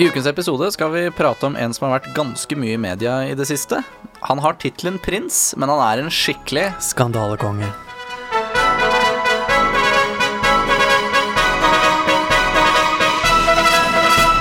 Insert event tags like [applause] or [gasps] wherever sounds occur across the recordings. I ukens episode skal vi prate om en som har vært ganske mye i media i det siste. Han har tittelen prins, men han er en skikkelig Skandalekonge.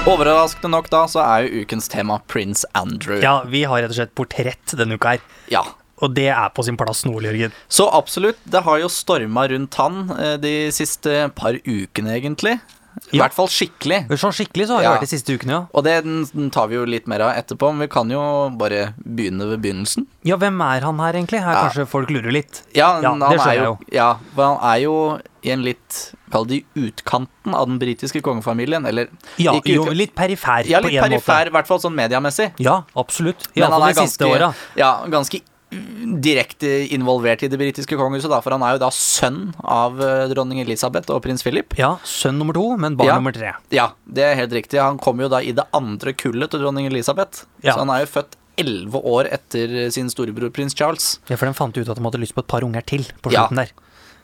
Overraskende nok da, så er jo ukens tema prins Andrew. Ja, vi har rett og slett portrett denne uka her. Ja. Og det er på sin plass nå, Jørgen. Så absolutt, det har jo storma rundt han eh, de siste par ukene, egentlig. I Ja. hvert fall skikkelig. Sånn skikkelig så har Ja. det vært de siste ukene, ja. Og det den- den tar vi jo litt mer av etterpå, men vi kan jo bare begynne ved begynnelsen. Ja, hvem er han her egentlig? Her kanskje folk lurer litt. Ja, Ja, han det skjønner er jeg jo, ja, for han er jo i en litt Kall det i utkanten av den britiske kongefamilien, eller Ja, ikke jo, utkan- litt perifer Ja, på litt en måte. perifer, i hvert fall sånn mediamessig. Ja, absolutt. I Men han alle fall er de siste åra. ganske, ja, ganske mm, direkte involvert i det britiske kongehuset, da, for han er jo da sønn av eh, dronning Elisabeth og prins Philip. Ja, sønn nummer to, men barn Ja. nummer tre. Ja, det er helt riktig. Han kom jo da i det andre kullet til dronning Elisabeth. Ja. Så han er jo født elleve år etter sin storebror prins Charles. Ja, for de fant ut at de hadde lyst på et par unger til på Ja. slutten der.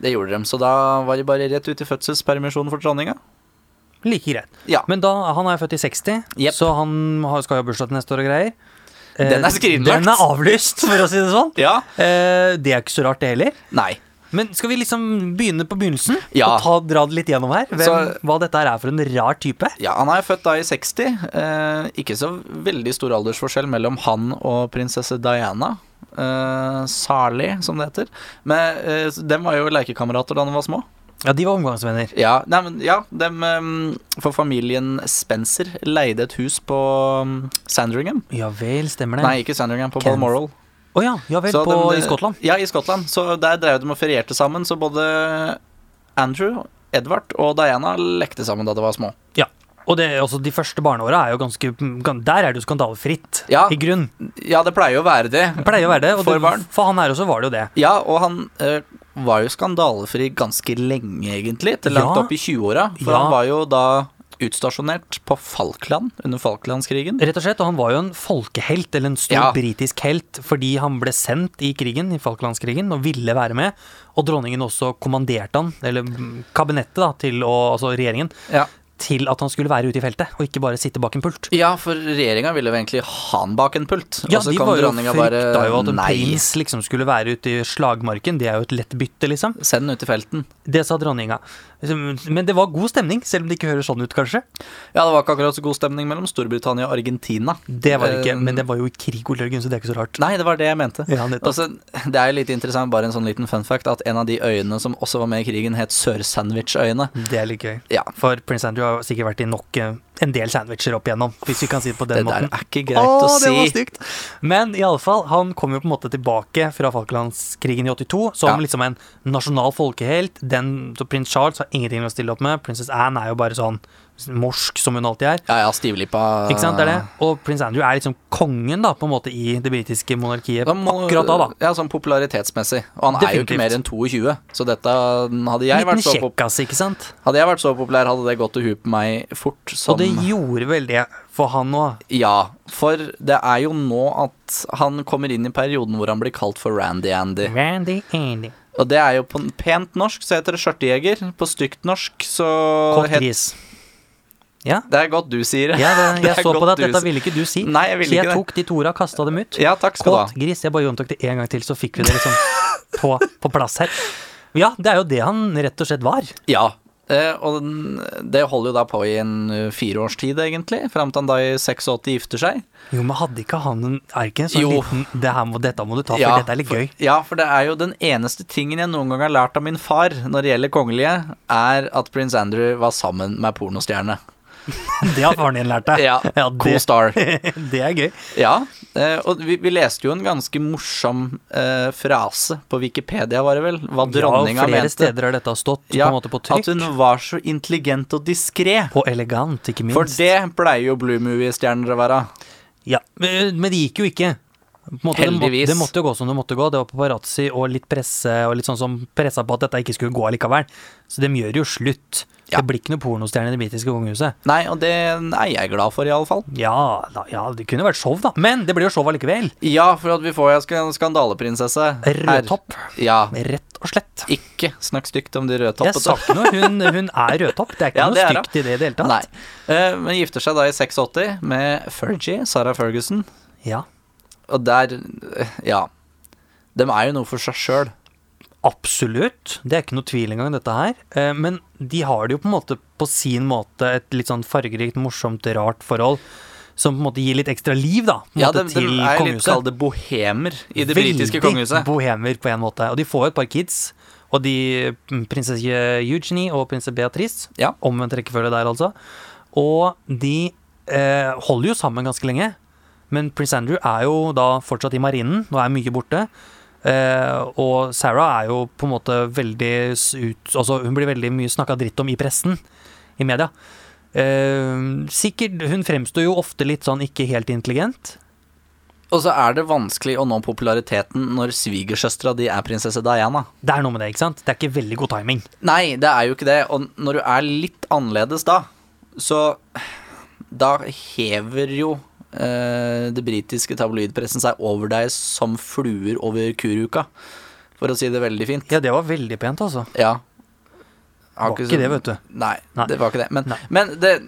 Det gjorde de, så da var de bare rett ut i fødselspermisjon for dronninga. Like greit. Ja. Men da, han er jo født i 60, Jepp. så han har, skal jo ha bursdag til neste år og greier. Eh, Den er skrinlagt. Den er avlyst, for å si det sånn. Ja? Eh, det er ikke så rart, det heller. Nei. Men skal vi liksom begynne på begynnelsen? Ja. Og ta, dra det litt gjennom her? Hvem, Så- hva dette her er for en rar type? Ja, Han er født da i 60. Eh, ikke så veldig stor aldersforskjell mellom han og prinsesse Diana. Eh, Sarli, som det heter. Men eh, dem var jo lekekamerater da de var små. Ja, de var omgangsvenner. Ja, nei, men, ja dem, eh, For familien Spencer leide et hus på um, Sandringham. Ja vel, stemmer det. Nei, ikke Sandringham, på Kent. Balmoral. Å ja, ja vel, Så på, dem- i Skottland. Ja, i Skottland. Så der drev de og ferierte sammen. Så både Andrew, Edvard og Diana lekte sammen da de var små. Ja. Og det, er også de første barneåra er jo ganske gan- Der er det jo skandalefritt, Ja. i grunn. Ja, det pleier jo å være det. Det pleier å være det. Og For det, barn. for han her også var det jo det. Ja, og han eh, var jo skandalefri ganske lenge, egentlig. Til langt Ja. opp i 20-åra. For Ja. han var jo da utstasjonert på Falkland under Falklandskrigen. Rett og slett, og han var jo en folkehelt, eller en stor Ja. britisk helt, fordi han ble sendt i krigen, i Falklandskrigen, og ville være med. Og dronningen også kommanderte han, eller mm, kabinettet, da, til å, altså regjeringen, Ja. til at han skulle være ute i feltet, og ikke bare sitte bak en pult. Ja, for regjeringa ville jo egentlig ha han bak en pult. Ja, og så de kom var jo dronninga bare frykta jo at en Nei, prins liksom skulle være ute i slagmarken, det er jo et lett bytte, liksom. send den ut i felten. Det sa dronninga. Men det var god stemning, selv om det ikke høres sånn ut, kanskje. Ja, det var ikke akkurat så god stemning mellom Storbritannia og Argentina. Det var det ikke, Eh, men det var jo i krig, Ole Jørgen, så det er ikke så rart. Nei, det var det jeg mente. Ja, nettopp. Altså, det er jo litt interessant, bare en sånn liten fun fact, at en av de øyene som også var med i krigen, het Sør-Sandwich-øyene. Det er litt gøy. Ja, For prins Andrew har sikkert vært i nok eh, en del sandwicher opp igjennom, hvis vi kan si det på det den der måten. er ikke greit å Åh, si. det var stygt. Men i alle fall, han kom jo på en måte tilbake fra Falklandskrigen i 82 som Ja. liksom en nasjonal folkehelt. Den, så prins Charles har ingenting å stille opp med. Prinsesse Anne er jo bare sånn morsk som hun alltid er. Ja, ja, stivlippa Ikke sant, det er det? Ah. Og prins Andrew er liksom kongen da, på en måte i det britiske monarkiet Da må- akkurat da. da. Ja, sånn popularitetsmessig. Og han er jo ikke Definitivt. mer enn 22, så dette Hadde jeg, En vært liten så, pop kjekkas, ikke sant? hadde jeg vært så populær, hadde det gått til huet på meg fort som Og det gjorde vel det for han òg. Ja, for det er jo nå at han kommer inn i perioden hvor han blir kalt for Randy Andy. Randy Andy. Og det er jo på pent norsk så heter det skjørtejeger. På stygt norsk så Kort het gris. Ja, Det er godt du sier det. Ja, [laughs] det, Det jeg er så på godt deg at du dette sier- ville ikke du si. Nei, jeg ville så ikke jeg det. tok de to ordene og kasta dem ut. Ja, takk skal du ha. Kåt gris. Jeg bare gjentok det en gang til, så fikk vi det liksom på, på plass her. Ja, det er jo det han rett og slett var. Ja. eh, Og den- det holder jo da på i en eh, fire års tid, egentlig. Fram til han da i 86 gifter seg. Jo, men hadde ikke han en Er ikke en sånn Jo. liten det her må, Dette må du ta, for Ja, dette er litt gøy. [laughs] Ja, for det er jo den eneste tingen jeg noen gang har lært av min far når det gjelder kongelige, er at prins Andrew var sammen med pornostjerne. Det har faren din lært deg. Ja, det, Cool star. [laughs] det er gøy. Ja, eh, og vi, vi leste jo en ganske morsom eh, frase på Wikipedia, var det vel? Hva ja, dronninga og flere mente. steder har dette stått på Ja, en måte på at trykk. hun var så intelligent og diskré. Og elegant, ikke minst. For det pleier jo Blue Movie-stjerner å være. Ja, men, men det gikk jo ikke. På en måte, det må- Heldigvis. Det måtte jo gå som det måtte gå. Det var paparazzi og litt presse og litt sånn som pressa på at dette ikke skulle gå allikevel. Så de gjør jo slutt. Ja. Det blir ikke noe pornostjerne i det britiske kongehuset. Nei, og det er jeg glad for, i alle fall. Ja, da, ja, det kunne vært show, da. Men det blir jo show allikevel. Ja, for at vi får jo sk- en skandaleprinsesse. her. Rødtopp, Ja. rett og slett. Ikke snakk stygt om de Jeg rødtoppete. sa ikke noe. Hun, hun er rødtopp. Det er [laughs] ikke Ja, noe det er stygt i det i det hele tatt. Nei. Eh, Men gifter seg da i 86 med Fergie, Sarah Ferguson. Ja, Og der eh, Ja. Dem er jo noe for seg sjøl. absolutt. Det er ikke noe tvil engang, dette her. Eh, Men de har det jo på en måte på sin måte et litt sånn fargerikt, morsomt, rart forhold. Som på en måte gir litt ekstra liv, da. På en Ja, måte, dem, til dem er litt kongehuset. kalde bohemer i det britiske Veldig kongehuset. bohemer på en måte. Og de får jo et par kids. Og de mm, prinsesse Eugenie og prinsesse Beatrice. Ja. Omvendt rekkefølge der, altså. Og de eh, holder jo sammen ganske lenge. Men prins Andrew er jo da fortsatt i marinen og er mye borte. Eh, og Sarah er jo på en måte veldig s- ut Altså, hun blir veldig mye snakka dritt om i pressen, i media. Eh, sikkert Hun fremstår jo ofte litt sånn ikke helt intelligent. Og så er det vanskelig å nå populariteten når svigersøstera di er prinsesse Diana. Det er noe med det, ikke sant? Det er ikke veldig god timing. Nei, det er jo ikke det. Og når du er litt annerledes da, så Da hever jo eh, det britiske tabloidpressen seg over deg som fluer over kuruka, for å si det veldig fint. Ja, det var veldig pent, altså. Ja. Var ikke sånn- det, vet du. Nei, Nei. det var ikke det. Men, Nei. men det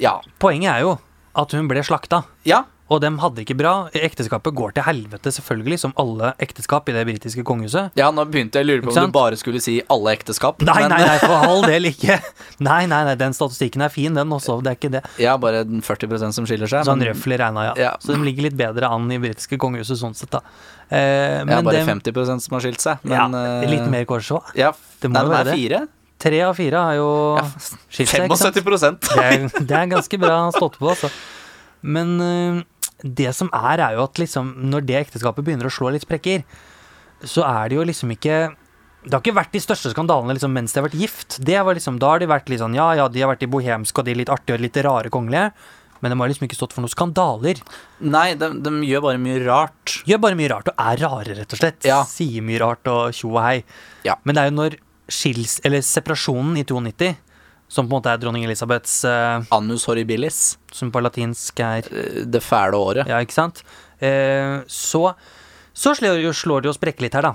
Ja. Poenget er jo at hun ble slakta, Ja. og dem hadde ikke bra. Ekteskapet går til helvete, selvfølgelig, som alle ekteskap i det britiske kongehuset. Ja, nå begynte jeg å lure på Ikke om sant? du bare skulle si alle ekteskap. Nei, men- eh, nei, nei, for all del ikke. Nei, nei, nei, den statistikken er fin, den også. Det er ikke det. Ja, bare den 40 som skiller seg. Sånn men- røffelig regna, ja. Ja. Så de ligger litt bedre an i britiske kongehuset sånn sett, da. Eh, Ja, men bare dem- 50 som har skilt seg. ja, Men, eh, litt mer kanskje òg. Ja, Det må nei, jo den være er det. fire. Tre av fire har jo Ja, skilt seg, ikke sant? 75 Det er, det er ganske bra stått på, altså. Men øh, det som er, er jo at liksom, når det ekteskapet begynner å slå litt sprekker, så er det jo liksom ikke det har ikke vært de største skandalene liksom, mens de har vært gift. Det var liksom, da har de vært litt sånn, ja, ja, de har vært i bohemsk, og de litt artige og litt rare kongelige. Men de har liksom ikke stått for noen skandaler. Nei, de, de gjør bare mye rart. Gjør bare mye rart og er rare, rett og slett. Ja. Sier mye rart og tjo og hei. Ja. Men det er jo når skils, eller separasjonen i 92, som på en måte er dronning Elisabeths, eh, Annus horribilis, som på latinsk er eh, det fæle året. Ja, ikke sant? Eh, så så slår, jo- slår det jo sprekk litt her, da.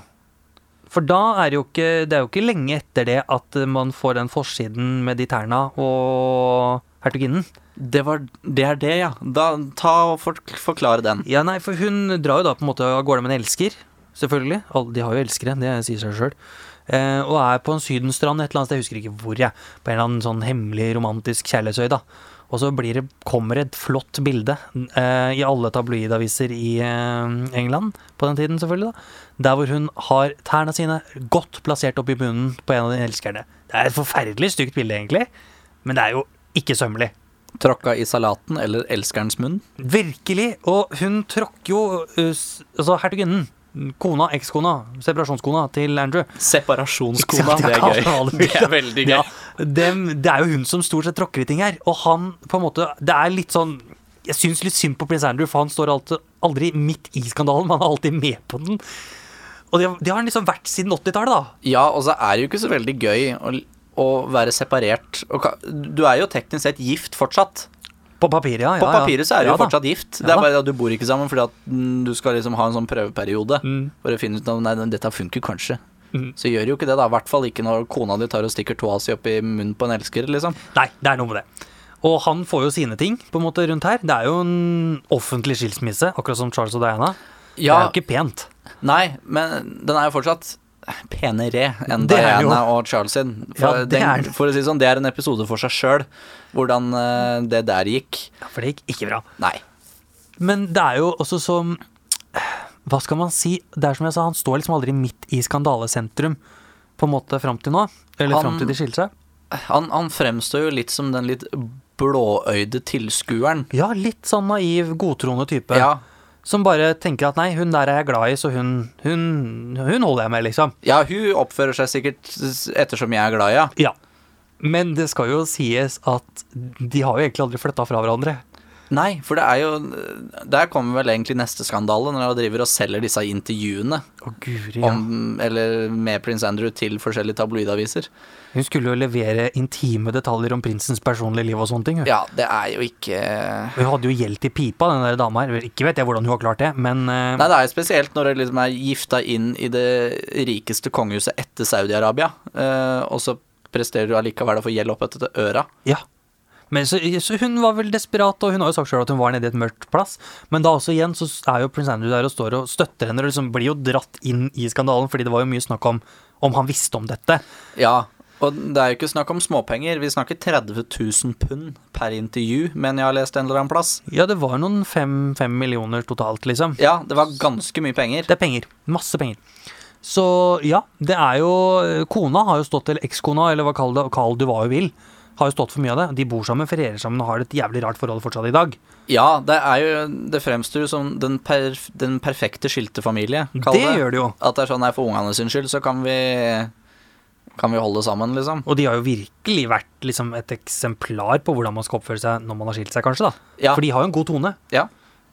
For da er det jo ikke, det er jo ikke lenge etter det at eh, man får den forsiden med de tærne og hertuginnen. Det, var, det er det, ja. Da, ta og for, forklare den. Ja, nei, for hun drar jo da på en måte av gårde med en elsker, selvfølgelig. Alle, de har jo elskere, det sier seg sjøl. Eh, og er på en sydenstrand et eller annet sted, jeg husker ikke hvor jeg. På en eller annen sånn hemmelig romantisk kjærlighetsøy, da. Og så blir det, kommer et flott bilde eh, i alle tabloidaviser i eh, England, på den tiden selvfølgelig, da. Der hvor hun har tærne sine godt plassert oppi munnen på en av de elskerne. Det er et forferdelig stygt bilde, egentlig, men det er jo ikke sømmelig. Tråkka i salaten eller elskerens munn. Virkelig. Og hun tråkker jo uh, s- Altså, hertuginnen. Kona, ekskona, separasjonskona til Andrew. Separasjonskona, Ikke sant, det jeg er kan ha gøy. det Det bildet. er veldig gøy. Ja, dem, det er jo hun som stort sett tråkker i ting her. Og han på en måte Det er litt sånn Jeg syns litt synd på prins Andrew, for han står alltid, aldri midt i skandalen, men han er alltid med på den. Og det, det har han liksom vært siden 80-tallet, da. Ja, og så er det jo ikke så veldig gøy å, å være separert. Og ka- Du er jo teknisk sett gift fortsatt. På papiret, ja. ja, På ja. papiret så er du Ja jo da. fortsatt gift. Det Ja er da. bare at du bor ikke sammen fordi at mm, du skal liksom ha en sånn prøveperiode Mm. for å finne ut om nei, den- dette funker kanskje. Mm. Så gjør jo ikke det, da. I hvert fall ikke når kona di tar og stikker tåa si opp i munnen på en elsker, liksom. Nei, det er noe med det. Og han får jo sine ting på en måte rundt her. Det er jo en offentlig skilsmisse, akkurat som Charles og Diana. Det er jo ikke pent. Nei, men den er jo fortsatt penere enn Det er Diana jo- og Charles sin. Ja, For, det er den, det. for å si det sånn, det er en episode for seg sjøl, hvordan eh, det der gikk. Ja, for det gikk ikke bra. Nei. Men det er jo også som Hva skal man si? Det er som jeg sa, han står liksom aldri midt i skandalesentrum på en måte fram til nå. Eller Han- fram til de skilte seg. Han, han fremstår jo litt som den litt blåøyde tilskueren. Ja, litt sånn naiv, godtroende type. Ja, Som bare tenker at nei, hun der er jeg glad i, så hun, hun, hun holder jeg med, liksom. ja, hun oppfører seg sikkert s- ettersom jeg er glad, ja. Ja. Men det skal jo sies at de har jo egentlig aldri flytta fra hverandre. Nei, for det er jo Der kommer vel egentlig neste skandale, når han driver og selger disse intervjuene Å, guri, ja. om, eller med prins Andrew til forskjellige tabloidaviser. Hun skulle jo levere intime detaljer om prinsens personlige liv og sånne ting. hun. Ja, det er jo ikke Hun hadde jo gjeld til pipa, den der dama her. Vel, Ikke vet jeg hvordan hun har klart det, men eh, Nei, det er jo spesielt når det liksom er gifta inn i det rikeste kongehuset etter Saudi-Arabia, eh, og så presterer du allikevel å få gjeld opp etter til øra. Ja. Men så, så hun var vel desperat, og hun har jo sagt sjøl at hun var nede i et mørkt plass. Men da også igjen så er jo prins Andrew der og står og støtter henne, og liksom blir jo dratt inn i skandalen, fordi det var jo mye snakk om om han visste om dette. Ja, og det er jo ikke snakk om småpenger. Vi snakker 30 000 pund per intervju, men jeg har lest en eller annen plass. Ja, det var noen fem, fem millioner totalt, liksom. Ja, det var ganske mye penger. Det er penger. Masse penger. Så ja, det er jo Kona har jo stått, eller ekskona, eller hva kall det, kall du hva hun vil, har jo stått for mye av det. De bor sammen, ferierer sammen og har et jævlig rart forhold fortsatt i dag. Ja, det er jo Det fremstår jo som den, perf den perfekte skiltefamilie, kall det gjør det jo. At det er sånn nei, for ungene sin skyld, så kan vi Kan vi holde sammen, liksom. Og de har jo virkelig vært liksom, et eksemplar på hvordan man skal oppføre seg når man har skilt seg, kanskje. da. Ja. For de har jo en god tone. Ja.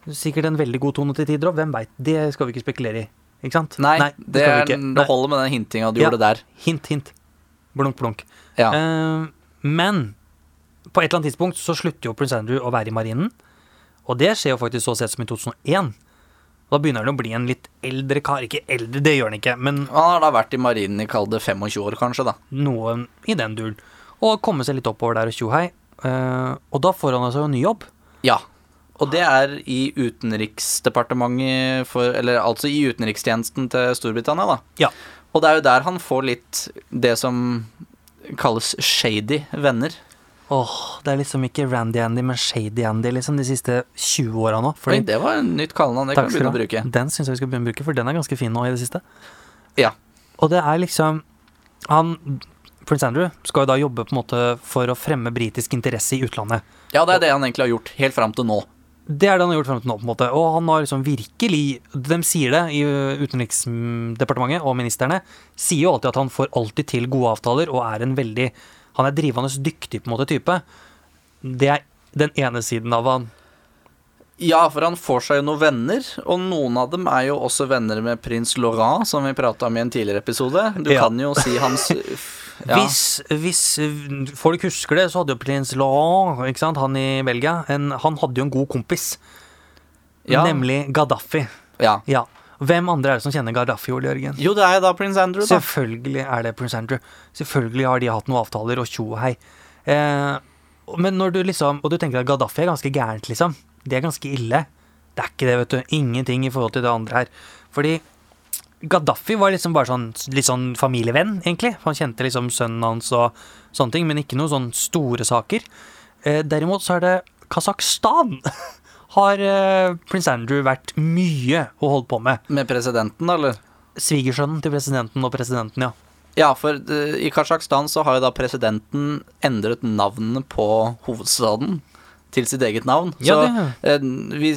Sikkert en veldig god tone til tider òg, hvem veit. Det skal vi ikke spekulere i. Ikke sant? Nei, det, skal er, vi det ikke. Nei. holder med den hintinga du Ja. gjorde der. Hint, hint. Blunk, blunk. Ja. Eh, men på et eller annet tidspunkt så slutter jo prins Andrew å være i marinen. Og det skjer jo faktisk så sett som i 2001. Da begynner han å bli en litt eldre kar. Ikke eldre, det gjør han ikke, men Han har da vært i marinen i kall det 25 år, kanskje, da. noen i den duren. Og komme seg litt oppover der og tjohei. Eh, og da får han altså en ny jobb. Ja. Og det er i Utenriksdepartementet for Eller altså i utenrikstjenesten til Storbritannia, da. Ja. Og det er jo der han får litt det som kalles shady venner. Åh, det er liksom ikke Randy Andy, men Shady Andy liksom de siste 20 åra nå. Fordi, Fordi, Oi, det var et nytt kallenavn. Det kan Takk vi skal begynne å du ha. bruke. Den syns jeg vi skal begynne å bruke, for den er ganske fin nå i det siste. Ja. Og det er liksom Han Prince Andrew skal jo da jobbe på en måte for å fremme britisk interesse i utlandet. Ja, det er det han egentlig har gjort helt fram til nå. Det er det han har gjort frem til nå, på en måte. Og han har liksom virkelig De sier det i ø, Utenriksdepartementet og ministerne. Sier jo alltid at han får alltid til gode avtaler og er en veldig Han er drivende dyktig på en måte type. Det er den ene siden av han. Ja, for han får seg jo noen venner, og noen av dem er jo også venner med prins Laurent, som vi prata om i en tidligere episode. Du Ja. kan jo si [laughs] hans ja. Hvis, hvis ø, folk husker det, så hadde jo prins Laurent, ikke sant, han i Belgia, en, han hadde jo en god kompis. Ja. Nemlig Gaddafi. ja. Ja. Hvem andre er det som kjenner Gaddafi, Ole Jørgen? Jo, det er da prins Andrew, da. Selvfølgelig er det prins Andrew. Selvfølgelig har de hatt noen avtaler og tjo og hei. Eh, og- men når du liksom Og du tenker at Gaddafi er ganske gærent, liksom. Det er ganske ille. Det er ikke det, vet du. Ingenting i forhold til det andre her. Fordi Gaddafi var liksom bare sånn litt sånn familievenn, egentlig. Han kjente liksom sønnen hans og sånne ting, men ikke noen sånn store saker. Eh, derimot så er det Kasakhstan [laughs] har eh, prins Andrew vært mye og holdt på med. Med presidenten, da, eller? Svigersønnen til presidenten og presidenten, ja. Ja, for eh, i Kasakhstan så har jo da presidenten endret navnene på hovedstaden til sitt eget navn. Ja, så eh, vi,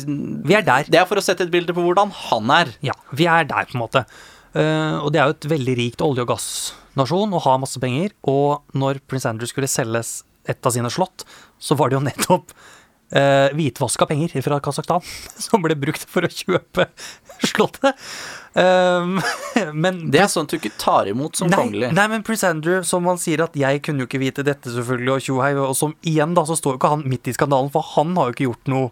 Vi er der. Det er for å sette et bilde på hvordan han er. Ja, vi er der, på en måte. Eh, og det er jo et veldig rikt olje- og gassnasjon og har masse penger. Og når prins Andrew skulle selge s- et av sine slott, så var det jo nettopp uh, hvitvaska penger fra Kasakhstan [laughs] som ble brukt for å kjøpe slottet. Eh, [laughs] men Det er sånt du ikke tar imot som kongelig. Nei, nei, men prins Andrew, som han sier at jeg kunne jo ikke vite dette, selvfølgelig, og tjohei, og som igjen, da, så står jo ikke han midt i skandalen, for han har jo ikke gjort noe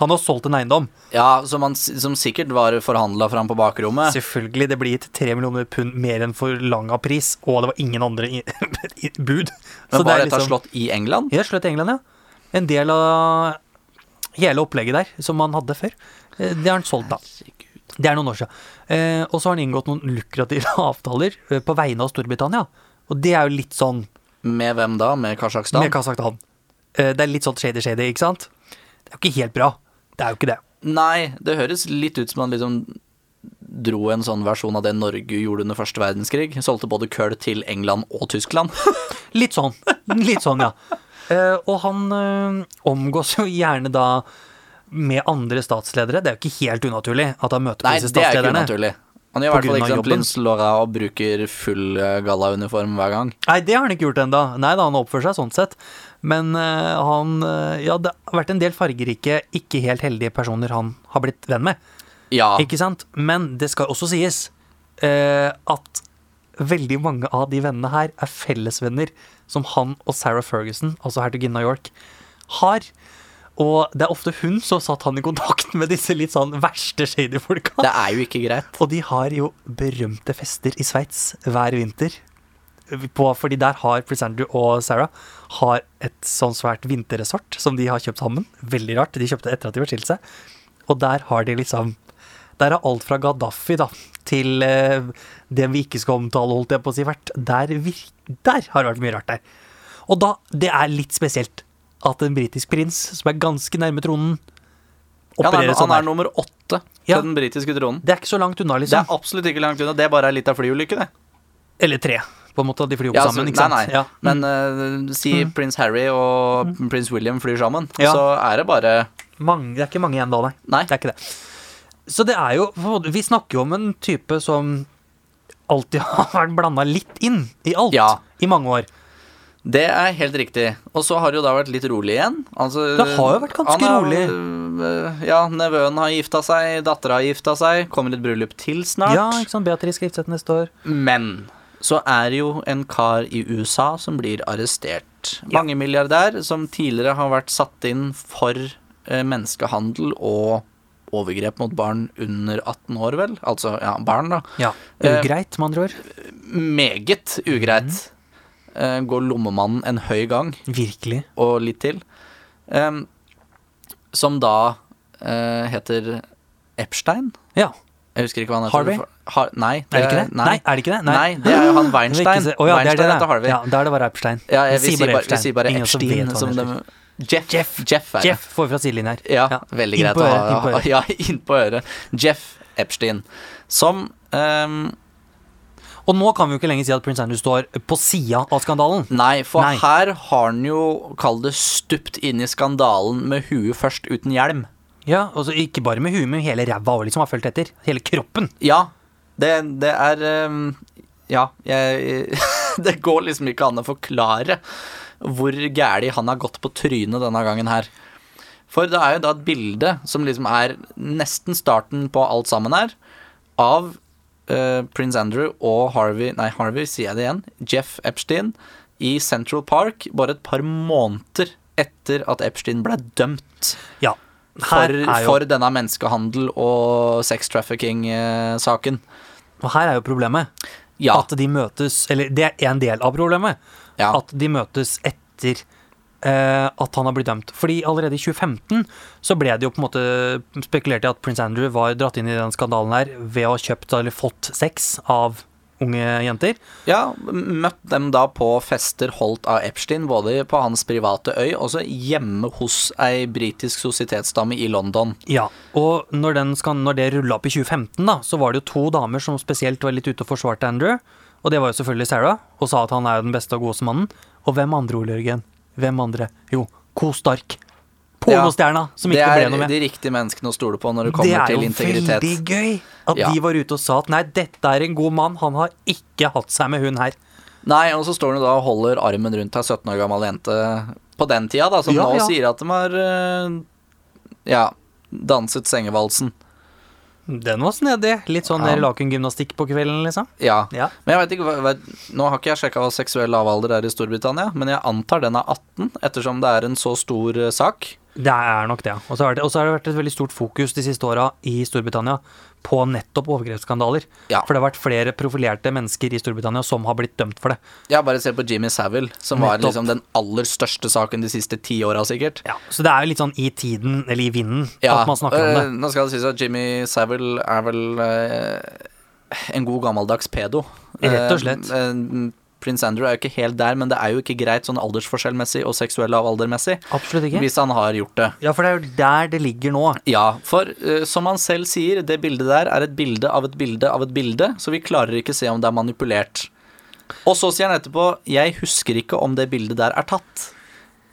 Han har solgt en eiendom. Ja, som, han, som sikkert var forhandla fram på bakrommet. [laughs] Selvfølgelig, det blir gitt 3 millioner pund mer enn forlanga pris, og det var ingen andre i, [laughs] i, bud. Men det var er liksom- dette slått i England? Ja, slått i England, ja. En del av hele opplegget der, som han hadde før. Eh, Det har han solgt, da. Herregud. Det er noen år siden. Eh, og så har han inngått noen lukrative [laughs] avtaler eh, på vegne av Storbritannia. Og det er jo litt sånn Med hvem da? Med Kasakhstan? med Kasakhstan. Eh, det er litt sånn shady-shady, ikke sant? Det er jo ikke helt bra. Det er jo ikke det. Nei, det høres litt ut som han liksom dro en sånn versjon av det Norge gjorde under første verdenskrig. Solgte både kull til England og [laughs] Tyskland. Litt sånn. [laughs] Litt sånn, ja. Eh, og han eh, omgås jo gjerne da med andre statsledere. Det er jo ikke helt unaturlig at han møter på Nei, disse det er ikke statslederne. unaturlig. Han gjør i På hvert fall grunn ikke av som jobben. Prince Laura og bruker full eh, gallauniform hver gang. Nei, det har han ikke gjort ennå. Nei da, han oppfører seg sånn sett. Men eh, han eh, Ja, det har vært en del fargerike, ikke helt heldige personer han har blitt venn med. Ja, Ikke sant? Men det skal også sies eh, at veldig mange av de vennene her er fellesvenner som han og Sarah Ferguson, altså hertuginnen av York, har. Og det er ofte hun som satt han i kontakt med disse litt sånn verste shady folka. det er jo ikke greit. Og de har jo berømte fester i Sveits hver vinter. På, fordi der har Prince Andrew og Sarah har et sånn svært vinterresort som de har kjøpt sammen. Veldig rart. De kjøpte det etter at de var skilt seg. Og der har de liksom Der har alt fra Gaddafi da, til eh, det vi ikke skal omtale, holdt jeg på å si, vært. Der, vir- der har det vært mye rart der. Og da Det er litt spesielt at en britisk prins som er ganske nærme tronen, Han er, opererer han sånn. er her. nummer åtte til Ja. den britiske tronen. Det er ikke så langt unna, liksom. Det er absolutt ikke langt unna. Det er bare ei lita flyulykke, det. Eller tre, på en måte. at De flyr opp Ja, altså, sammen, ikke sant? Nei, nei. Ja. Mm. Men eh, si prins Harry og prins William flyr sammen, Ja. så er det bare mange, det er ikke mange igjen da, nei. Nei. Det er ikke det. Så det er jo Vi snakker jo om en type som alltid [laughs] har vært blanda litt inn i alt Ja. i mange år. Det er helt riktig. Og så har det jo da vært litt rolig igjen. Altså, Det har jo vært han ganske har- rolig. øh, Ja, nevøen har gifta seg, dattera har gifta seg, kommer et bryllup til snart. Ja, ikke sant? Beatrice Skriftseth neste år. Men så er det jo en kar i USA som blir arrestert. Mange milliardær som tidligere har vært satt inn for eh, menneskehandel og overgrep mot barn under 18 år, vel? Altså, ja, barn, da. Ja. Eh, Ugreit, med andre ord. Meget Mhm. ugreit. Eh, Går lommemannen en høy gang, Virkelig. og litt til. Ehm, som da eh, heter Epstein. Ja. Jeg husker ikke hva han heter. Harvey? Har, nei, Er det ikke det? Eh, Nei, Nei, er det ikke det? nei. det er jo han [gasps] Det er Weinstein. ikke så- Å ja, det er det, Weinstein heter da. Harvey. Ja, da er det bare Epstein. Ja, jeg, vi, Vi sier sier bare bare, vi Epstein. sier bare Ingen som vet Epstein hva som han de Jeff. Jeff. er det. Jeff får fra sidelinjen her. Ja, veldig Inn greit på å øret, inn på ha [laughs] øret. ja, inn på øret. Jeff Epstein. Som ehm, Og nå kan vi jo ikke lenger si at prins Andrew står på sida av skandalen. Nei, for Nei. her har han jo, kall det, stupt inn i skandalen med huet først uten hjelm. Ja, og så Altså, Ikke bare med huet, men hele ræva og liksom har fulgt etter. Hele kroppen. Ja, det, det er ehm, Ja, jeg [laughs] Det går liksom ikke an å forklare hvor gæli han har gått på trynet denne gangen her. For det er jo da et bilde som liksom er nesten starten på alt sammen her, av eh, prins Andrew og Harvey Nei, Harvey, sier jeg det igjen. Jeff Epstein i Central Park bare et par måneder etter at Epstein ble dømt Ja. for, Her er jo, for denne menneskehandel- og sex eh, trafficking-saken. og her er jo problemet. Ja. At de møtes Eller det er en del av problemet. ja. At de møtes etter eh, at han har blitt dømt. Fordi allerede i 2015 så ble det jo på en måte spekulert i at prins Andrew var dratt inn i den skandalen her ved å ha kjøpt eller fått sex av unge jenter. Ja, møtt dem da på fester holdt av Epstein, både på hans private øy, også hjemme hos ei britisk sosietetsdame i London. Ja, og når, den skal, når det rulla opp i 2015, da, så var det jo to damer som spesielt var litt ute og forsvarte Andrew. Og det var jo selvfølgelig Sarah, og sa at han er jo den beste og godeste mannen. Og hvem andre, Ole Jørgen? Hvem andre? Jo, Co Stark. Pornostjerna, som Det ikke er ble noe med. de riktige menneskene å stole på når det Det kommer er til jo integritet. veldig gøy at Ja. de var ute og sa at nei, dette er en god mann, han har ikke hatt seg med hun her. Nei, og så står han jo da og holder armen rundt ei 17 år gammel jente på den tida, da, som Ja, nå ja. sier at de har eh, ja, danset sengevalsen. Den var snedig. Litt sånn Ja. der lakengymnastikk på kvelden, liksom. Ja. Ja. Men jeg vet ikke, hva- hva- Nå har ikke jeg sjekka hva seksuell lavalder er i Storbritannia, men jeg antar den er 18, ettersom det er en så stor eh, sak. Det er nok det. ja. Og så har det, og så har det vært et veldig stort fokus de siste åra i Storbritannia på nettopp overgrepsskandaler. Ja. For det har vært flere profilerte mennesker i Storbritannia som har blitt dømt for det. Ja, bare se på Jimmy Savile, som var Nettopp. liksom den aller største saken de siste ti åra, sikkert. Så det er jo litt sånn i tiden, eller i vinden, at man snakker om øh, det. Nå skal det sies at Jimmy Savile er vel eh, en god gammeldags pedo. Rett og slett. Eh, eh, Prins Andrew er jo ikke helt der, men det er jo ikke greit sånn aldersforskjellmessig og seksuell lavaldermessig. Absolutt ikke. Hvis han har gjort det. Ja, for det er jo der det ligger nå. Ja, for eh, som han selv sier, det bildet der er et bilde av et bilde av et bilde, så vi klarer ikke se om det er manipulert. Og så sier han etterpå 'Jeg husker ikke om det bildet der er tatt'.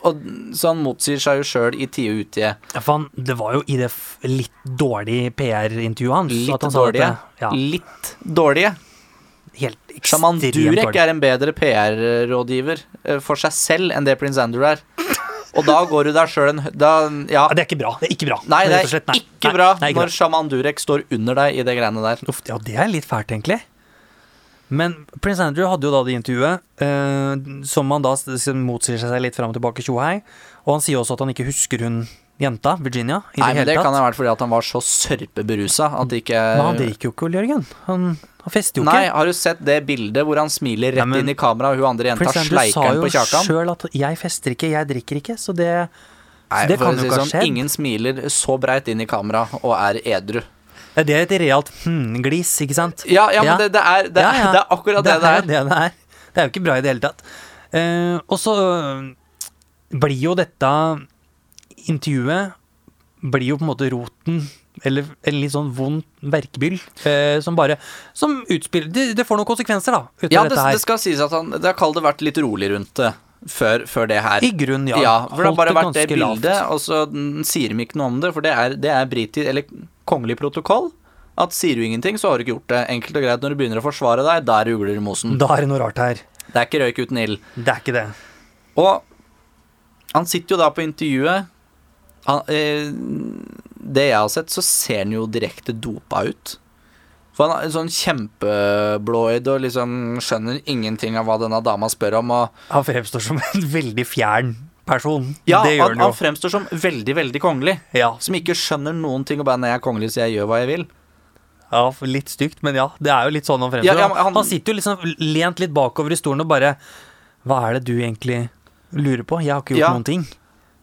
og så han motsier seg jo sjøl i tide og utide. Ja, for han, det var jo i det f litt dårlige PR-intervjuet hans. Litt at han sa at det- dårlige. Ja, Litt dårlige. helt ekstremt Sjaman Durek dårlig. er en bedre PR-rådgiver eh, for seg selv enn det prins Andrew er. Og da går du deg sjøl en hø- da, ja. Ja, det er ikke bra. Det er ikke bra. Nei, det rett og er slett, nei. ikke Nei, bra nei, ikke når sjaman Durek står under deg i det greiene der. Uff, ja, det er litt fælt, egentlig. Men prins Andrew hadde jo da det intervjuet, eh, som han da s- s- motsier seg litt fram og tilbake tjohei. Og han sier også at han ikke husker hun jenta, Virginia, i Nei, men det hele Det kan tatt. ha vært fordi at han var så sørpeberusa at det ikke Men han drikker jo ikke, Ole Jørgen. Han, han fester jo Nei, ikke. har du sett det bildet hvor han smiler rett Nei, men- inn i kamera, og hun andre jenta Prins Andrew sleiker sa han jo på kjakan? sjøl at 'jeg fester ikke, jeg drikker ikke', så det Nei, det for kan å jo si ikke ha sånn, skjedd. Ingen smiler så breit inn i kamera og er edru. Ja, Det er et realt hm-glis, ikke sant? Ja, ja, men Ja. Det, det, er, det, Ja, ja. det er akkurat det det er er. jo det det er. Det er jo ikke bra i det hele tatt. Eh, og så eh, blir jo dette intervjuet blir jo på en måte roten eller en litt sånn vond verkebyll eh, som bare Som utspiller Det, det får noen konsekvenser, da, ut av Ja, det, dette her. det skal sies at han Det har kalt det vært litt rolig rundt det før, før det her. I grunnen, ja. Ja, for det har Holdt bare det vært det ganske lavt. bildet, og så mm, sier de ikke noe om det, for det er, det er britisk, eller kongelig protokoll. At sier du ingenting, så har du ikke gjort det. Enkelt og greit, når du begynner å forsvare deg, da er det ugler i mosen. Mm. Da er det noe rart her. Det er ikke røyk uten ild. Det er ikke det. Og han sitter jo da på intervjuet han, eh, Det jeg har sett, så ser han jo direkte dopa ut. For han er sånn kjempeblåøyd og liksom skjønner ingenting av hva denne dama spør om. Og Han fremstår som en [laughs] veldig fjern person. ja, det gjør han, han jo. han fremstår som veldig, veldig kongelig. Ja, Som ikke skjønner noen ting og bare 'nei, jeg er kongelig, så jeg gjør hva jeg vil'. Ja, litt stygt, men ja. Det er jo litt sånn han fremstår. Ja, ja, men han- han, sitter jo liksom lent litt bakover i stolen og bare Hva er det du egentlig lurer på? Jeg har ikke gjort Ja. noen ting.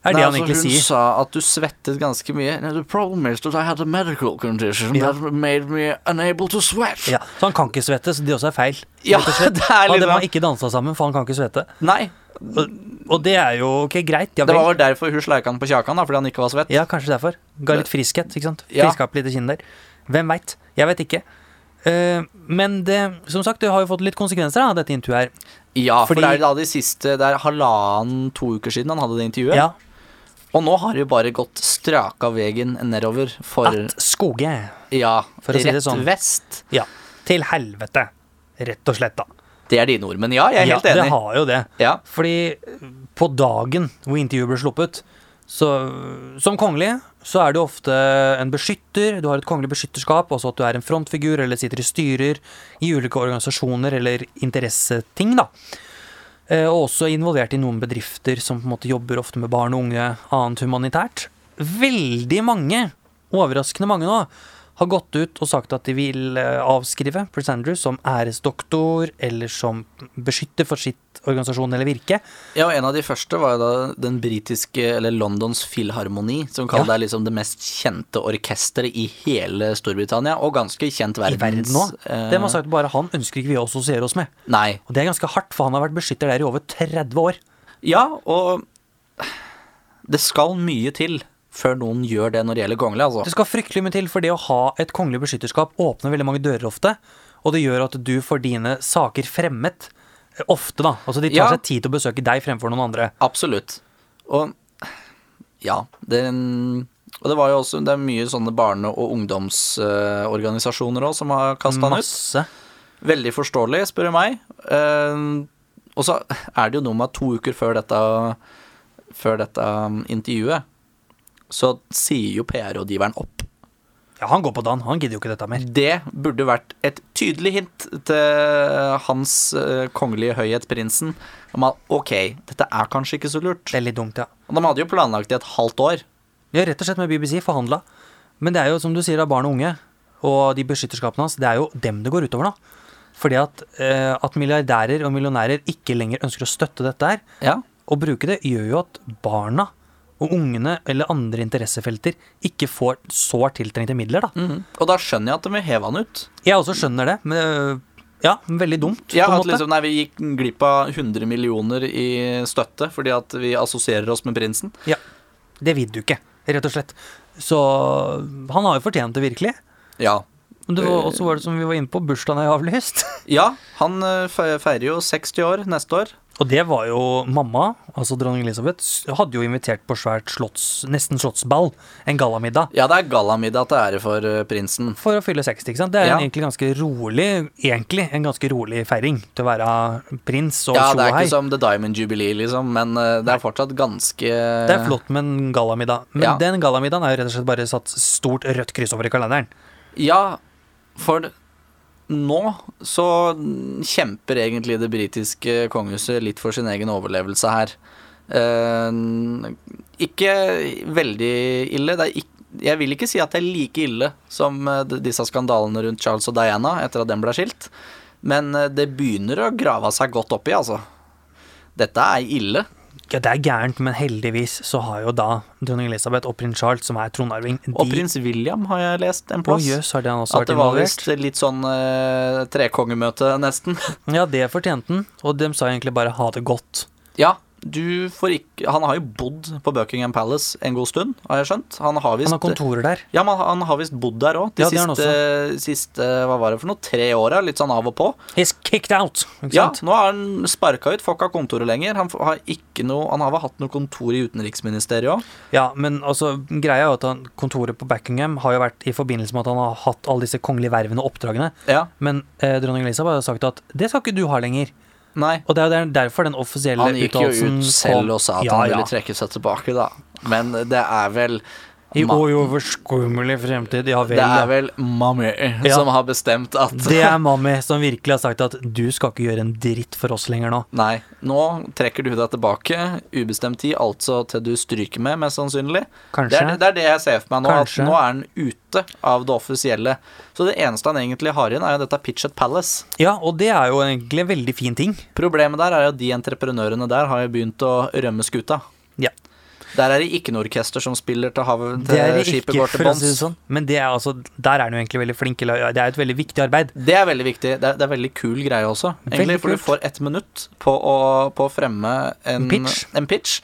Er Nei, det han altså, egentlig hun sier. sa at du svettet ganske mye. The problem is that I had a medical condition Ja. that made me unable to sweat. Ja, så han kan ikke svette, så det også er feil. Ja, rett og slett. [laughs] det er Han litt dem har sånn. ikke dansa sammen, for han kan ikke svette. Nei, Og det er jo ok, greit. Ja, det var vel. vel derfor hun sleika han på kjakan, da, fordi han ikke var svett. ja kanskje derfor. Ga litt friskhet, ikke sant. Ja. Friska opp litt i kinnet der. Hvem veit? Jeg vet ikke. Eh, men det, som sagt, det har jo fått litt konsekvenser, da, dette intervjuet her. Ja, for Fordi- det er da de siste Det er halvannen, to uker siden han hadde det intervjuet. Ja, Og nå har det jo bare gått straka veien nedover for At Skoge Ja, For å si det rett sånn. vest. Ja. Til helvete, rett og slett, da. Det er dine ord, men ja, jeg er helt ja, enig. Det har jo det. Ja. Fordi eh, på dagen hvor intervjuet ble sluppet, så Som kongelig så er du ofte en beskytter, du har et kongelig beskytterskap, også at du er en frontfigur eller sitter i styrer i ulike organisasjoner eller interesseting, da. Eh, Og også involvert i noen bedrifter som på en måte jobber ofte med barn og unge, annet humanitært. Veldig mange, overraskende mange nå, har gått ut og sagt at de vil eh, avskrive Prince Andrew som æresdoktor eller som beskytter for sitt organisasjon eller virke. Ja, og en av de første var jo da den britiske, eller Londons Filharmoni, som kaller det liksom det mest kjente orkesteret i hele Storbritannia, og ganske kjent I verdens verden nå. eh, Det man sagt bare han ønsker ikke vi å assosiere oss med. Nei. Og det er ganske hardt, for han har vært beskytter der i over 30 år. Ja, og det skal mye til før noen gjør det når det gjelder kongelig, altså. Det skal fryktelig mye til, for det å ha et kongelig beskytterskap åpner veldig mange dører ofte, og det gjør at du får dine saker fremmet eh, ofte, da. Altså de tar Ja. seg tid til å besøke deg fremfor noen andre. Absolutt. Og ja, det og det var jo også, det er mye sånne barne- og ungdomsorganisasjoner også som har kasta han ut. Masse. Veldig forståelig, spør du meg. Eh, og så er det jo noe med at to uker før dette, før dette um, intervjuet, så sier jo PR-rådgiveren opp. Ja, han går på dagen, han gidder jo ikke dette mer. Det burde vært et tydelig hint til Hans eh, kongelige høyhet prinsen om at ok, dette er kanskje ikke så lurt. Det er litt dumt, ja. Og de hadde jo planlagt det et halvt år. Vi har rett og slett med BBC forhandla. Men det er jo som du sier, da, barn og unge og de beskytterskapene hans, det er jo dem det går utover nå. Fordi at, eh, at milliardærer og millionærer ikke lenger ønsker å støtte dette her, Ja. å bruke det, gjør jo at barna og ungene eller andre interessefelter ikke får sårt tiltrengte midler, da. Mhm. Og da skjønner jeg at de vil heve han ut. Jeg også skjønner det, men øh, ja, veldig dumt, Ja, på en at måte. liksom, nei, Vi gikk glipp av 100 millioner i støtte fordi at vi assosierer oss med prinsen. Ja, liksom- det vil du ikke, rett og slett. Så han har jo fortjent det, virkelig. Ja, Men det var, også var det som vi var inne på, bursdagen er avlyst. Ja, han eh, fe- feirer jo 60 år neste år. [laughs] Og det var jo mamma, altså dronning Elisabeth, s- hadde jo invitert på svært slotts, nesten slottsball, en gallamiddag, Ja, det er gallamiddag til ære for eh, prinsen. for å fylle 60. ikke sant? Det er Ja. en egentlig ganske rolig egentlig en ganske rolig feiring til å være prins og Ja, det er tjohei. ikke som The Diamond Jubilee, liksom, men eh, det er fortsatt ganske Det er flott med en gallamiddag, men eh, Ja. den gallamiddagen er jo rett og slett bare satt stort rødt kryss over i kalenderen. Ja, for nå så kjemper egentlig det britiske kongehuset litt for sin egen overlevelse her. Eh, ikke veldig ille. Det er ikk- jeg vil ikke si at det er like ille som eh, d- disse skandalene rundt Charles og Diana etter at den ble skilt, men eh, det begynner å grave seg godt opp i, altså. Dette er ille. Ja, det er gærent, men heldigvis så har jo da dronning Elisabeth og prins Charles, som er tronarving, de Og prins William har jeg lest en Å, plass. jøss, har den også At vært det var involvert? visst litt sånn eh, trekongemøte, nesten. Ja, det fortjente den, og dem sa egentlig bare ha det godt. ja, du får ikke Han har jo bodd på Buckingham Palace en god stund, har jeg skjønt. Han har Han har visst kontorer der. ja, men han har visst bodd der òg, de Ja, det har han siste, siste hva var det for noe, tre åra. Litt sånn av og på. He's kicked out! Ikke Ja, sant? Nå er han sparka ut, får ikke ha kontoret lenger. Han, f- har ikke noe, han har vel hatt noe kontor i utenriksministeriet òg. Ja. men altså, greia er jo at han, kontoret på Buckingham har jo vært i forbindelse med at han har hatt alle disse kongelige vervene og oppdragene, Ja, men eh, dronning Elisabeth har sagt at det skal ikke du ha lenger. nei. Og det er jo der- derfor den offisielle Han gikk jo uttalelsen ut selv og sa at han ville ja. trekke seg tilbake, da. Men det er vel I uoverskummelig fremtid, ja vel. Det ja. er vel Mummy Ja. som har bestemt at Det er Mami som virkelig har sagt at du skal ikke gjøre en dritt for oss lenger nå. Nei, nå trekker du deg tilbake. Ubestemt tid, altså til du stryker med, mest sannsynlig. Det Kanskje. er, det er det jeg ser for meg nå. Kanskje. At nå er han ute av det offisielle. Så det eneste han egentlig har igjen, er jo dette Pitch at Palace. Ja, og det er jo egentlig en veldig fin ting. Problemet der er jo at de entreprenørene der har jo begynt å rømme skuta. Ja. Der er det ikke noe orkester som spiller til, havet, Det er til det skipet ikke, går til for å si det bånns. sånn. Men det er altså, der er han jo egentlig veldig flink. eller, ja, Det er et veldig viktig arbeid. Det er veldig viktig. Det er, det er veldig kul greie også. Egentlig, Veldig for du kult. får ett minutt på å, på å fremme en En pitch. En pitch.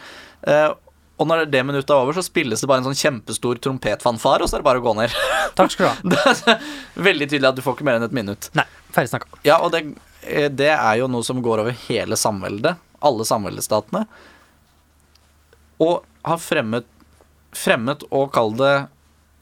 Eh, og når det minuttet er over, så spilles det bare en sånn kjempestor trompetfanfar, og så er det bare å gå ned. [laughs] Takk skal du ha. Det er veldig tydelig at du får ikke mer enn et minutt. Nei, ferdig snakka. Ja, og det, eh, det er jo noe som går over hele samveldet. Alle samveldestatene. Og har fremmet Fremmet og kall det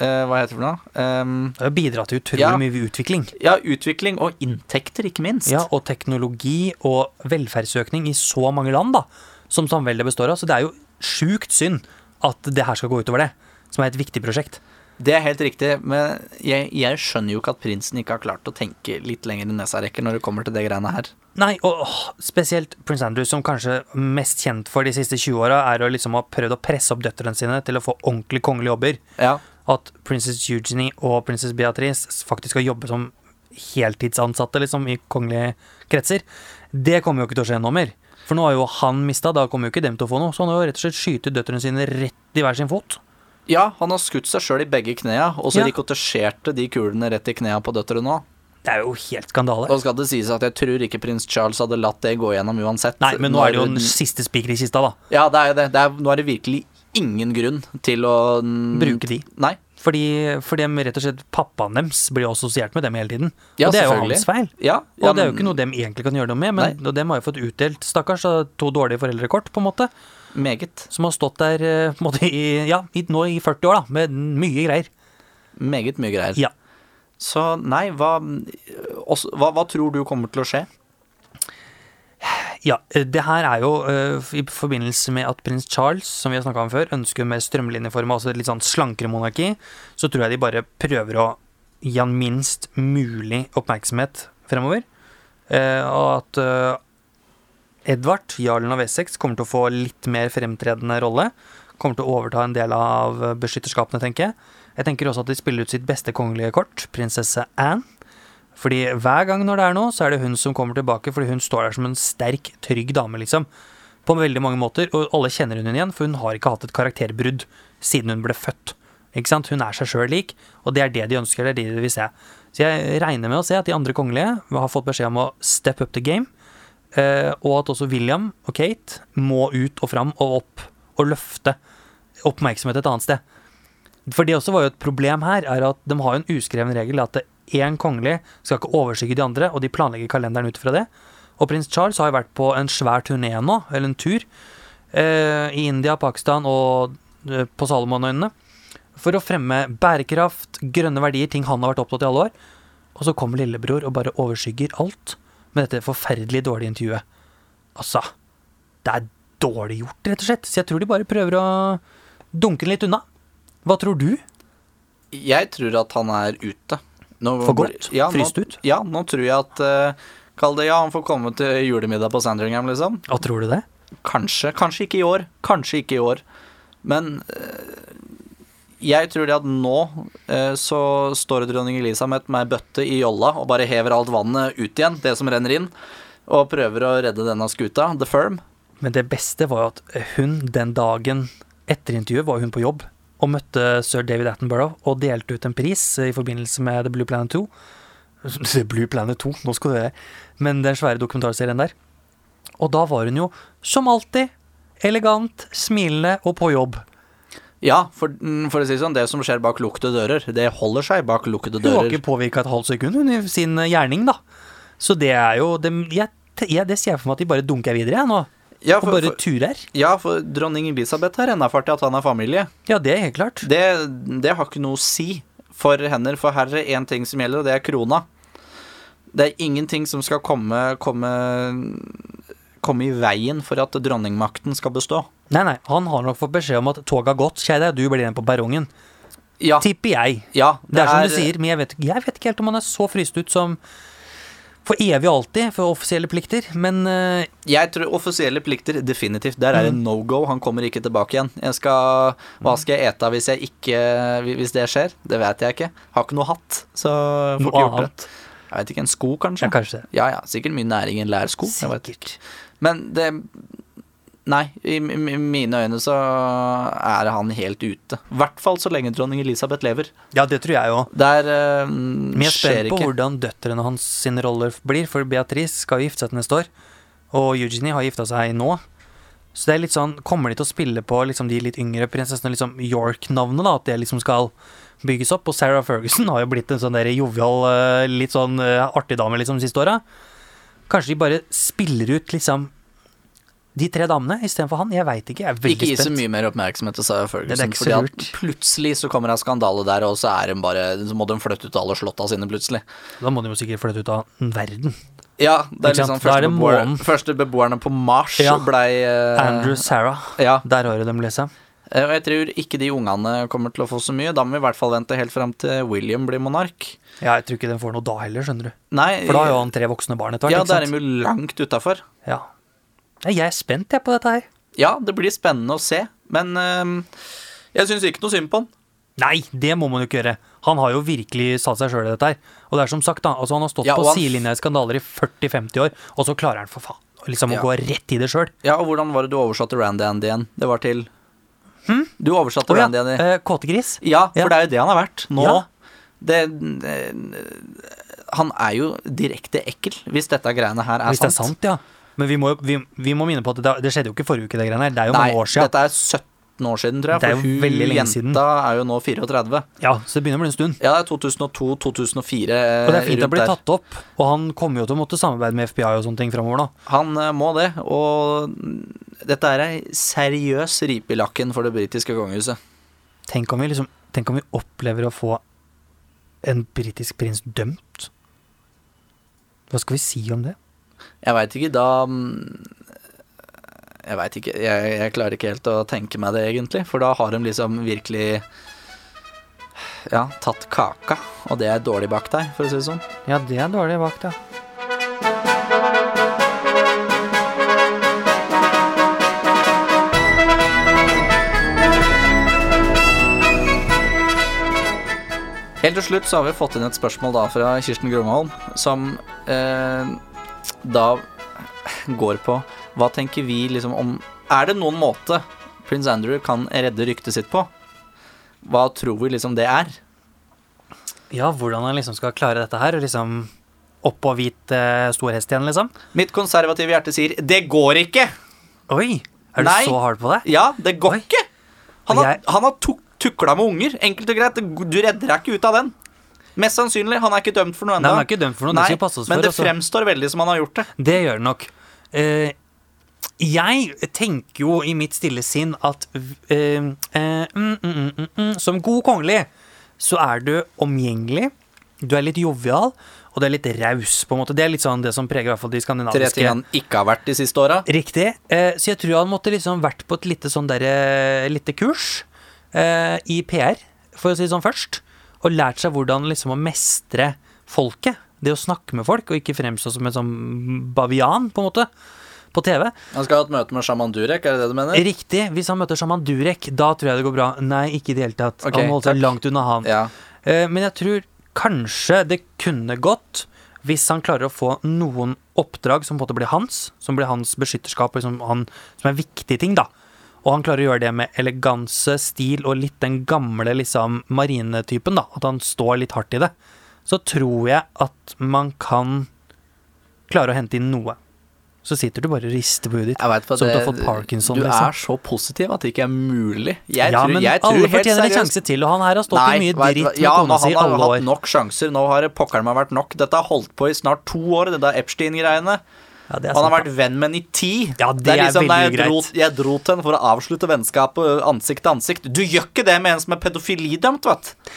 eh, Hva heter det for noe? Ehm, Det har jo bidratt til utrolig Ja. mye utvikling. ja, utvikling og inntekter, ikke minst. Ja, og teknologi og velferdsøkning i så mange land da, som samveldet består av. Så det er jo sjukt synd at det her skal gå utover det, som er et viktig prosjekt. Det er helt riktig, men jeg, jeg skjønner jo ikke at prinsen ikke har klart å tenke litt lenger enn nesa rekker når det kommer til det greiene her. Nei, og åh, spesielt prins Andrew, som kanskje mest kjent for de siste 20 åra, er å liksom ha prøvd å presse opp døtrene sine til å få ordentlig kongelige jobber. Ja, at prinsesse Eugenie og prinsesse Beatrice faktisk skal jobbe som heltidsansatte liksom, i kongelige kretser, det kommer jo ikke til å skje nå mer. For nå har jo han mista, da kommer jo ikke dem til å få noe. Så han har jo rett og slett skyte døtrene sine rett i hver sin fot. ja han har skutt seg sjøl i begge knea, og så Ja. rikotasjerte de kulene rett i knea på døtrene òg. Det er jo helt skandale. Da skal det sies at jeg tror ikke prins Charles hadde latt det gå gjennom uansett. Nei, men nå er det jo den Når- siste spiker i kista, da. Ja, det er jo det. det er, nå er det virkelig ingen grunn til å mm, Bruke de. Nei. Fordi, for dem, rett og slett pappaen deres blir jo assosiert med dem hele tiden. Ja, og det er jo selvfølgelig. hans feil. Ja, Og ja, det er jo men- ikke noe dem egentlig kan gjøre noe med, men og dem har jo fått utdelt, stakkars, av to dårlige foreldrekort, på en måte. Meget. som har stått der eh, på en måte i, ja, i, nå i 40 år, da, med mye greier. Meget mye greier. Ja. Så nei, hva, også, hva, hva tror du kommer til å skje? ja. eh, Det her er jo eh, i forbindelse med at prins Charles, som vi har snakka om før, ønsker mer strømlinjeforma, altså et litt sånn slankere monarki, så tror jeg de bare prøver å gi han minst mulig oppmerksomhet fremover. Eh, Og at eh, Edvard, jarlen av Essex, kommer til å få litt mer fremtredende rolle. Kommer til å overta en del av eh, beskytterskapene, tenker jeg. Jeg tenker også at de spiller ut sitt beste kongelige kort, prinsesse Anne. Fordi hver gang når det er noe, så er det hun som kommer tilbake, fordi hun står der som en sterk, trygg dame, liksom. På veldig mange måter, og alle kjenner hun igjen, for hun har ikke hatt et karakterbrudd siden hun ble født. Ikke sant? Hun er seg sjøl lik, og det er det de ønsker, det er det de vil se. Så jeg regner med å se at de andre kongelige har fått beskjed om å step up the game, eh, og at også William og Kate må ut og fram og opp og løfte oppmerksomhet et annet sted. For det også var jo et problem her, er at de har jo en uskreven regel at én kongelig skal ikke overskygge de andre, og de planlegger kalenderen ut fra det. Og prins Charles har jo vært på en svær turné nå, eller en tur, eh, i India, Pakistan og eh, på Salomonøyene, for å fremme bærekraft, grønne verdier, ting han har vært opptatt i alle år. Og så kommer lillebror og bare overskygger alt med dette forferdelig dårlige intervjuet. Altså, det er dårlig gjort, rett og slett. Så jeg tror de bare prøver å dunke den litt unna. Hva tror du? Jeg tror at han er ute. Nå For blir- godt? Ja, nå- Fryst ut? Ja, nå tror jeg at eh, Kall det ja, han får komme til julemiddag på Sandringham, liksom. Hva tror du det? Kanskje. Kanskje ikke i år. Kanskje ikke i år. Men eh, jeg tror det at nå eh, så står dronning Elisabeth med ei bøtte i jolla og bare hever alt vannet ut igjen, det som renner inn, og prøver å redde denne skuta, The Firm. Men det beste var jo at hun den dagen etter intervjuet var hun på jobb og møtte sir David Attenborough og delte ut en pris i forbindelse med The Blue Planet 2. [laughs] The Blue Planet 2, nå skal du høre. Men den svære dokumentarserien der. Og da var hun jo, som alltid, elegant, smilende og på jobb. Ja, for, mm, for å si det sånn, det som skjer bak lukkede dører, det holder seg bak lukkede Hun var dører. ikke påvirka et halvt sekund hun, i sin eh, gjerning, da. Så det er jo det, jeg, jeg, det ser jeg for meg at de bare dunker videre, jeg nå. Ja, Og for, bare for, turer. ja, for dronning Elisabeth har ennå fart i at han har familie. Ja, det er helt klart. Det, det har ikke noe å si for henne, for her er det én ting som gjelder, og det er krona. Det er ingenting som skal komme, komme, komme i veien for at dronningmakten skal bestå. Nei, nei, han har nok fått beskjed om at toget har gått, kjære deg, du blir igjen på perrongen. Ja, Tipper jeg. ja Det, er som du sier, men jeg vet, jeg vet ikke helt om han er så fryst ut som for evig og alltid for offisielle plikter, men eh, Jeg tror offisielle plikter, definitivt. Der er det Mm. no go. Han kommer ikke tilbake igjen. Jeg skal, hva skal jeg ete hvis, jeg ikke, hvis det skjer? Det vet jeg ikke. Har ikke noe hatt, så får Noe ikke gjort det. annet. Jeg vet ikke, en sko ja, kanskje? kanskje. Ja, ja, sikkert mye næring i en lærsko. Jeg vet Sikkert. Men det Nei, i m- m- mine øyne så er han helt ute. I hvert fall så lenge dronning Elisabeth lever. Ja, det tror jeg òg. Der um, Men jeg er skjer spent på ikke hvordan døtrene hans sine roller blir, for Beatrice skal jo gifte seg til neste år, og Eugenie har gifta seg nå. Så det er litt sånn, kommer de til å spille på liksom, de litt yngre prinsessene, liksom York-navnet, da, at det liksom skal bygges opp? Og Sarah Ferguson har jo blitt en sånn der jovial, eh, litt sånn eh, artig dame, liksom, de siste åra. Kanskje de bare spiller ut liksom de tre damene istedenfor han? Jeg veit ikke, jeg er Ikke veldig gi så spent. mye mer oppmerksomhet til Sarah Ferguson. Det er ikke så fordi at lurt. plutselig så kommer det en skandale der, og så, er hun bare, så må de flytte ut alle slotta sine plutselig. Da må de jo sikkert flytte ut av verden. Ja, det er Ikke liksom sant? Da første, er det beboer, månen. første beboerne på Mars Ja. blei eh, Andrew Sarah, Ja. der har du dem, Lisa. Eh, Og jeg tror ikke de ungene kommer til å få så mye. Da må vi i hvert fall vente helt fram til William blir monark. Ja, jeg tror ikke den får noe da heller, skjønner du. Nei, For da har jo han tre voksne barn etter Eh, ja, hvert. da er de ikke sant? jo langt utafor. Ja. Nei, Jeg er spent jeg på dette her. Ja, det blir spennende å se, men øhm, jeg syns ikke noe synd på han. Nei, det må man jo ikke gjøre. Han har jo virkelig satt seg sjøl i dette her. Og det er som sagt, da, altså han har stått Ja, og på han- sidelinja i skandaler i 40-50 år, og så klarer han for faen liksom Ja. å gå rett i det sjøl. Ja, og hvordan var det du oversatte Randy Andy igjen? Det var til Du oversatte Hm? Å ja, Randy Andy. eh, kåtegris. Ja, for ja. det er jo det han har vært nå. Ja. Det, eh, han er jo direkte ekkel, hvis dette greiene her er Hvis det er sant. sant, ja. Men vi må, jo- vi, vi må minne på at det, det skjedde jo ikke forrige uke, det greiene her. Det er jo Nei, mange år siden. dette er 17 år siden, tror jeg. Det er jo For hun veldig lenge jenta siden. er jo nå 34. Ja, så det begynner å bli en stund. Ja, det er 2002-2004. Og det er fint å bli tatt opp. Og han kommer jo til å måtte samarbeide med FBI og sånne ting framover nå. Han eh, må det, og dette er ei seriøs ripe i lakken for det britiske kongehuset. Tenk om vi liksom Tenk om vi opplever å få en britisk prins dømt? Hva skal vi si om det? Jeg veit ikke, da mm, Jeg veit ikke. Jeg, jeg klarer ikke helt å tenke meg det, egentlig. For da har de liksom virkelig ja, tatt kaka, og det er dårlig bak deg, for å si det sånn. Ja, det er dårlig vakt, ja. Helt til slutt så har vi fått inn et spørsmål da fra Kirsten Gromholm, som eh, da går på Hva tenker vi liksom om Er det noen måte prins Andrew kan redde ryktet sitt på? Hva tror vi liksom det er? Ja, hvordan han liksom skal klare dette her, og liksom opp og hvit eh, stor hest igjen, liksom. Mitt konservative hjerte sier 'det går ikke'! Oi! Er du Nei. så hard på det? Ja, det går Oi. ikke! Han Og har, jeg- han har tuk- tukla med unger. Enkelt og greit. Du redder deg ikke ut av den. Mest sannsynlig. Han er ikke dømt for noe Nei, ennå. han er ikke dømt for noe. det skal vi passe oss men for. det altså. fremstår veldig som han har gjort det. Det gjør det nok. Eh, jeg tenker jo i mitt stille sinn at eh, eh, mm, mm, mm, mm, mm, som god kongelig så er du omgjengelig, du er litt jovial, og du er litt raus, på en måte. Det er litt sånn det som preger i hvert fall de Tre ting skandinaviske han ikke har vært de siste åra. Riktig. Eh, så jeg tror han måtte liksom vært på et lite sånn derre lite kurs eh, i PR, for å si det sånn først. Og lært seg hvordan liksom å mestre folket. Det å snakke med folk, og ikke fremstå som en sånn bavian, på en måte, på TV. Han skal ha et møte med sjaman Durek, er det det du mener? Riktig. Hvis han møter Shaman Durek, da tror jeg det går bra. Nei, ikke i det hele tatt. Ok, han holdt seg takk. langt unna han. Ja. Eh, Men jeg tror kanskje det kunne gått hvis han klarer å få noen oppdrag som på en måte blir hans, som blir hans beskytterskap, og liksom han, som er viktige ting, da. Og han klarer å gjøre det med eleganse, stil og litt den gamle liksom, marinetypen, da. At han står litt hardt i det. Så tror jeg at man kan klare å hente inn noe. Så sitter du bare og rister på huet ditt. Jeg vet, for Som det- du har fått Parkinson, Du liksom. er så positiv at det ikke er mulig. Jeg ja, tror, men jeg tror alle helt fortjener en seriøst- sjanse til, og han her har stått i mye vet du dritt hva? med ja, kona si i men Han alle har år. hatt nok sjanser. Nå har det pokkeren meg vært nok. Dette har holdt på i snart to år, det der Epstein-greiene. Ja, det er Han har sant, da. vært venn med henne i ti. Ja, det er nei, veldig jeg dro, greit. jeg dro til henne for å avslutte vennskapet ø, ansikt til ansikt. Du gjør ikke det med en som er pedofilidømt, vet du.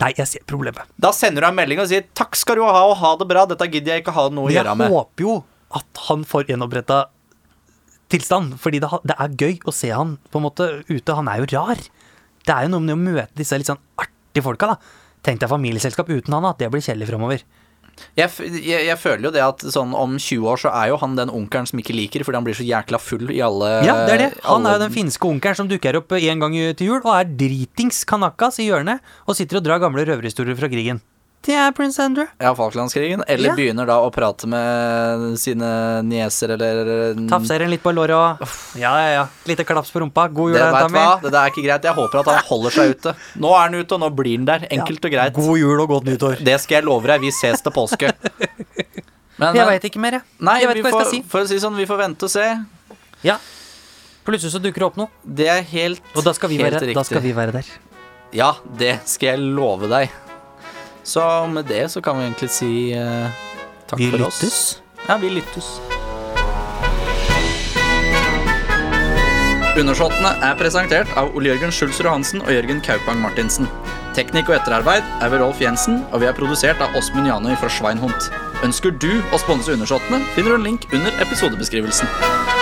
Nei, jeg ser problemet. Da sender du en melding og sier 'takk skal du ha, og ha det bra', dette gidder jeg ikke ha noe å Men gjøre jeg med. håper jo at han får gjenoppretta tilstand, fordi det, ha- det er gøy å se han på en måte ute. Han er jo rar. Det er jo noe med å møte disse litt sånn artige folka, da. Tenk deg familieselskap uten han, da. Det blir kjedelig framover. Jeg, f- jeg, jeg føler jo det at sånn om 20 år så er jo han den onkelen som ikke liker fordi han blir så jækla full i alle Ja, det er det. Han er Eh, alle- jo den finske onkelen som dukker opp en gang i- til jul og er dritings kanakas i hjørnet og sitter og drar gamle røverhistorier fra krigen. Det er prins Andrew. Ja, Falklandskrigen. Eller Ja. begynner da å prate med sine nieser eller Tafser en litt på låret og Ja, ja, ja. Lite klaps på rumpa. God jul, Det, da, vet du hva? Tammy. det der er ikke greit. Jeg håper at han holder seg [laughs] ute. Nå er han ute, og nå blir han der. Enkelt og greit. God jul og godt nyttår. Det skal jeg love deg. Vi ses til påske. [laughs] Men, Jeg veit ikke mer, jeg. Nei, jeg vet vi ikke hva får, jeg skal si. for å si sånn, vi får vente og se. Ja. Plutselig så dukker det opp noe, Det er helt, og da skal vi, helt være, da skal vi være der. Ja, det skal jeg love deg. Så med det så kan vi egentlig si eh, takk Vi for lyttes. oss. Ja, vi lyttes. Undersåttene er presentert av Ole-Jørgen Schulzer Johansen og Jørgen Kaupang Martinsen. Teknikk og etterarbeid er ved Rolf Jensen, og vi er produsert av Åsmund Janøy fra Schweinhund. Ønsker du å sponse Undersåttene, finner du en link under episodebeskrivelsen.